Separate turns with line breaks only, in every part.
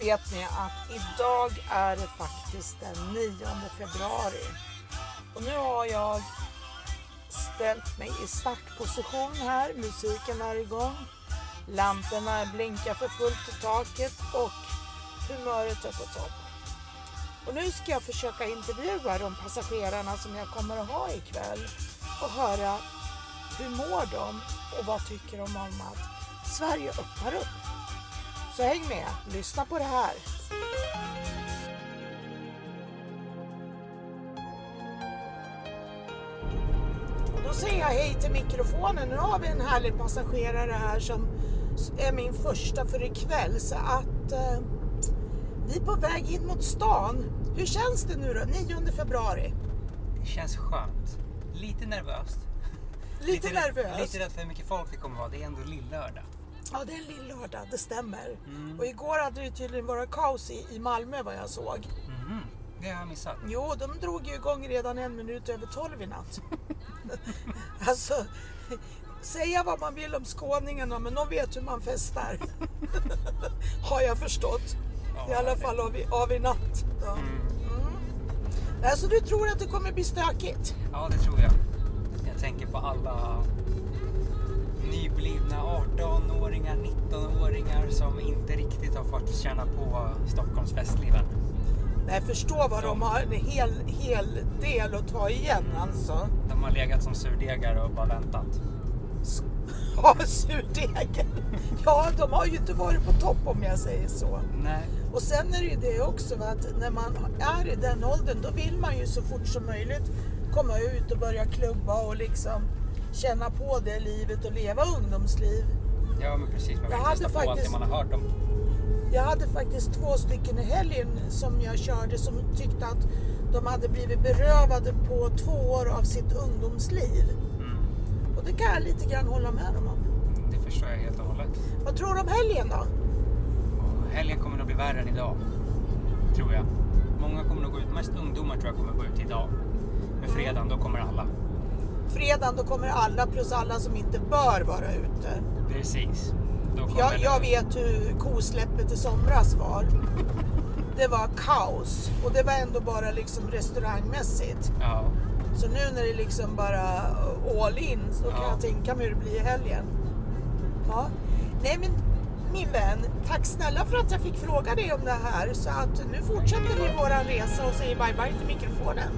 vet ni att idag är det faktiskt den 9 februari. Och nu har jag ställt mig i startposition här. Musiken är igång. Lamporna blinkar för fullt i taket och humöret är på topp. Och nu ska jag försöka intervjua de passagerarna som jag kommer att ha ikväll och höra hur mår de och vad tycker de om att Sverige öppnar upp. Så häng med, lyssna på det här. Och Då säger jag hej till mikrofonen. Nu har vi en härlig passagerare här som är min första för ikväll. Så att eh, vi är på väg in mot stan. Hur känns det nu då? 9 februari.
Det känns skönt. Lite nervöst.
Lite,
rädd-
nervös.
Lite rädd för hur mycket folk det kommer vara. Det är ändå lillördag.
Ja, det är en lill-lördag, det stämmer. Och igår hade det ju tydligen varit kaos i, i Malmö vad jag såg.
Mhm. Det har jag missat.
Jo, de drog ju igång redan en minut över tolv i natt. alltså, säga vad man vill om skåningarna, men de vet hur man festar. har jag förstått.
Ja,
I alla
härligt.
fall av i, av i natt. Ja. Mm. Alltså, du tror att det kommer bli stökigt?
Ja, det tror jag. Jag tänker på alla nyblivna 18-åringar, 19-åringar som inte riktigt har fått känna på Stockholms festliv än.
Nej, förstå vad de har en hel, hel del att ta igen alltså.
De har legat som surdegar och bara väntat.
Ja, surdegen. Ja, de har ju inte varit på topp om jag säger så.
Nej.
Och sen är det ju det också va, att när man är i den åldern då vill man ju så fort som möjligt komma ut och börja klubba och liksom känna på det livet och leva ungdomsliv.
Ja, men precis. Man vill
Jag hade
testa på allt det
faktiskt-
man har hört om.
Jag hade faktiskt två stycken i helgen som jag körde som tyckte att de hade blivit berövade på två år av sitt ungdomsliv.
Mm.
Och det kan jag lite grann hålla med dem om.
Det förstår jag helt och hållet.
Vad tror du om helgen då?
Och helgen kommer nog bli värre än idag. Tror jag. Många kommer nog gå ut, mest ungdomar tror jag kommer gå ut idag. Men fredagen, då kommer alla.
Fredagen då kommer alla plus alla som inte bör vara ute.
Precis. Då kommer
Jag,
det-
jag vet hur kosläppet i somras var. Det var kaos och det var ändå bara liksom restaurangmässigt.
Ja,
Så nu när det liksom bara all in så kan
Ja.
jag tänka mig hur det blir i helgen. Ja. Nej men min vän, tack snälla för att jag fick fråga dig om det här. Så att nu fortsätter vi våran resa och säger bye bye till mikrofonen.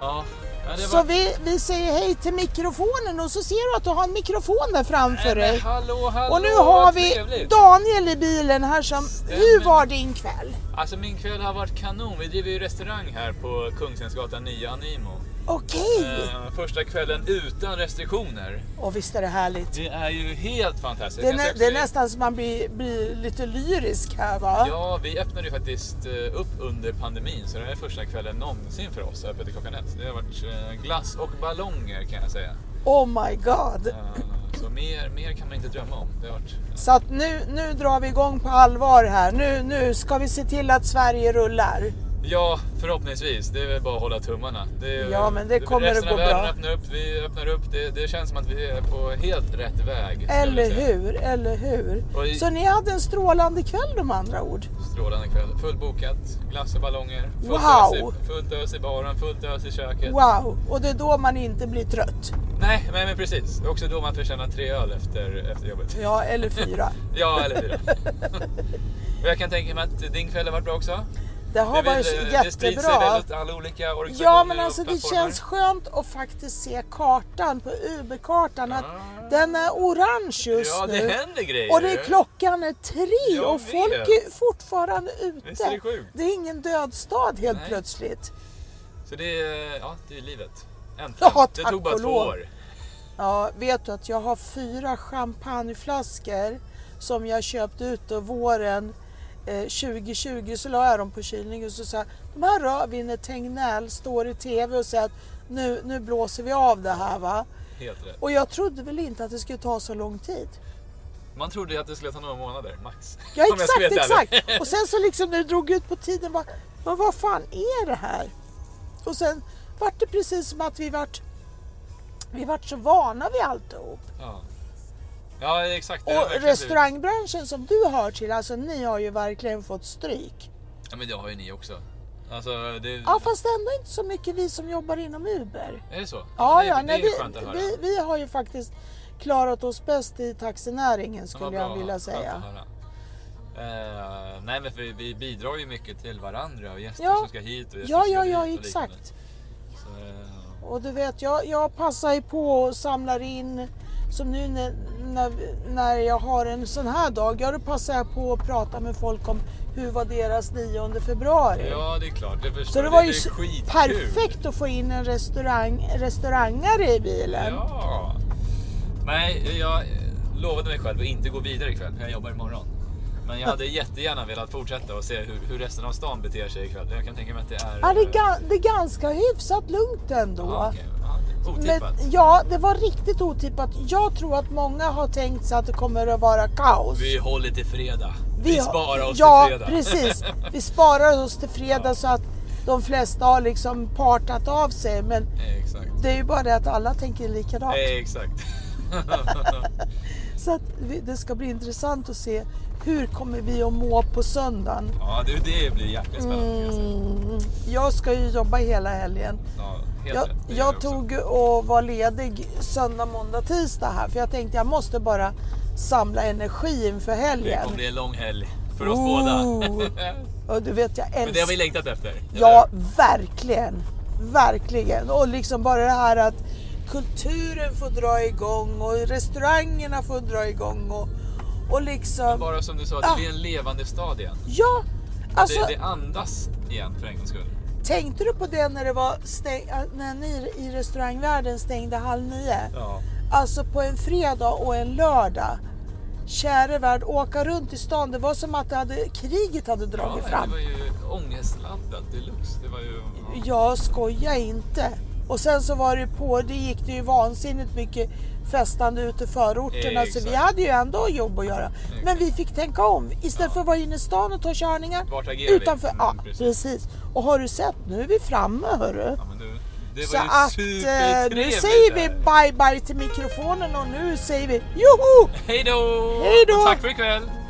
ja. ja
Så vi, vi säger hej till mikrofonen och så ser du att du har en mikrofon där framför dig.
Hallå, hallå,
Och nu har
vad
vi
trevligt.
Daniel i bilen här som,
Stämmer.
hur var din kväll?
Alltså min kväll har varit kanon. Vi driver ju restaurang här på Kungsängsgatan 9, Animo.
Okej!
Eh, första kvällen utan restriktioner.
Och visst är det härligt?
Det är ju helt fantastiskt.
Det är,
Jag kan
nä,
säga
det är
också-
nästan så man blir, blir lite lyrisk här va?
Ja, vi öppnade ju faktiskt eh, upp under pandemin så det här är första kvällen någonsin för oss öppet till klockan ett. Det har varit eh, glass och ballonger kan jag säga.
Oh my god!
Eh, Så mer, mer kan man inte drömma om. Det har varit...
Så att nu, nu drar vi igång på allvar här. Nu, nu ska vi se till att Sverige rullar.
Ja, förhoppningsvis. Det är väl bara att hålla tummarna. Det är,
Ja, men det kommer
resten
att gå
av världen
bra.
Öppnar upp, vi öppnar upp. Det, det känns som att vi är på helt rätt väg. skulle jag
Eller
säga.
hur? Eller hur?
Och i-
Så ni hade en strålande kväll om andra ord?
Strålande kväll. Fullbokat, glass och ballonger. Fullt,
Wow!
ös, i, fullt ös i baren, fullt ös i köket.
Wow! Och det är då man inte blir trött.
Nej, men, men precis. Det är också då man förtjänar tre öl efter, efter jobbet.
Ja, eller fyra.
Ja, eller fyra. och jag kan tänka mig att din kväll har varit bra också.
Det har
vet,
varit
eh, Det
jättebra.
sprids sig väl åt alla olika organisationer
Ja men alltså
och
det
plattformar.
känns skönt att faktiskt se kartan på Uber-kartan. Att
Ah.
Den är orange just
Ja,
nu.
det händer grejer.
och det är klockan är tre
Jag
och folk
vet.
är fortfarande ute.
Visst är det sjukt?
Det är ingen död stad helt
Nej.
plötsligt.
Så det är, ja, det är livet. Äntligen.
Ja,
det
tack
tog bara
och
två
lov.
år.
Ja, vet du att jag har fyra champagneflaskor som jag köpte ute våren eh, 2020 så la jag dem på kylningen och så sa jag, de här rödvinet Tegnell står i tv och säger att nu, nu blåser vi av det här va.
Helt rätt.
Och jag trodde väl inte att det skulle ta så lång tid.
Man trodde ju att det skulle ta några månader, max.
Ja
Om jag ska
exakt,
vara helt ärlig.
exakt. Och sen så liksom när det drog ut på tiden bara, men vad fan är det här? Och sen vart det precis som att vi vart, vi vart så vana vid alltihop.
Ja. Ja, exakt. Det har
Och
verkligen blivit-
restaurangbranschen som du hör till, alltså ni har ju verkligen fått stryk.
Ja, men det har ju ni också. Alltså, det...
Ja fast ändå inte så mycket vi som jobbar inom Uber.
Är det så?
Ja,
det,
ja,
det
nej,
är ju skönt
vi,
att höra.
vi, vi har ju faktiskt klarat oss bäst i taxinäringen
Ja, vad
skulle
bra,
jag vilja
skönt att
säga.
höra. Eh, nej men för vi, vi bidrar ju mycket till varandra och gäster
Ja.
som ska hit och gäster
Ja,
som
ja,
ska
ja,
dit och liknande.
exakt.
Så, eh,
Och du vet, jag, jag passar ju på och samlar in. Som nu när, när, när jag har en sån här dag, ja då passar jag på att prata med folk om hur var deras 9 februari.
ja det är klart, det förstår
Så det
jag.
var ju
är
s-
skitkul.
perfekt att få in en restaurang, restaurangare i bilen.
Ja. Nej, jag eh, lovade mig själv att inte gå vidare ikväll för jag jobbar imorgon. Men jag hade jättegärna velat fortsätta och se hur, hur resten av stan beter sig ikväll. Jag kan tänka mig att det är...
Ja, det, är
eh,
ga- det är ganska hyfsat lugnt ändå.
ja, okej. Ja, det-
Men,
Otippat.
ja, det var riktigt otippat. Jag tror att många har tänkt sig att det kommer att vara kaos.
Vi håller till fredag. Vi,
har-
sparar oss
ja,
till fredag.
precis. Vi sparar oss till fredag så att de flesta har liksom partat av sig. Men
Exakt.
det är ju bara det att alla tänker likadant.
Exakt.
Så att vi, det ska bli intressant att se hur kommer vi att må på söndagen.
ja, det, det blir jäkligt spännande. ska jag säga.
Mm, jag ska ju jobba hela helgen.
Ja, helt
Jag,
rätt. Det gör
jag
också.
tog och var ledig söndag, måndag, tisdag här för jag tänkte jag måste bara samla energi inför
Det kommer
helgen.
bli en lång helg för oss
Ooh.
båda.
Och du vet jag
Men det har vi
älskar...
längtat efter. eller
Ja, verkligen. Verkligen. Och liksom bara det här att kulturen får dra igång och restaurangerna får dra igång och, och
hur?
liksom...
Bara som du sa,
Ja.
det blir en levande stad igen.
Ja! Alltså,
det, det andas igen för en gångs skull.
tänkte du på det när det var stäng... äh, när ni i restaurangvärlden stängde halv nio?
Ja.
Alltså på en fredag och en lördag. Käre värld, åka runt i stan. Det var som att det hade, kriget hade
Ja,
dragit
det
fram. Mm.
var ju ångestladdat deluxe. Det var ju... ja.
Jag skojar inte. Och sen så var det på, det gick det ju vansinnigt mycket festande ute i förorterna. Så vi
Exakt.
hade ju ändå jobb att göra. Men
Exakt.
vi fick tänka om. Istället för att vara inne i stan och ta körningar.
Vart agerar vi?
Utanför,
Mm,
ja
precis.
precis. Och har du sett, nu är vi framme hörru.
Ja, men du, det
Så
var ju
att eh, nu
supertrevligt
säger vi
där.
bye bye till mikrofonen och nu säger vi joho!
Hej då!
Hej då!
Och Tack för ikväll!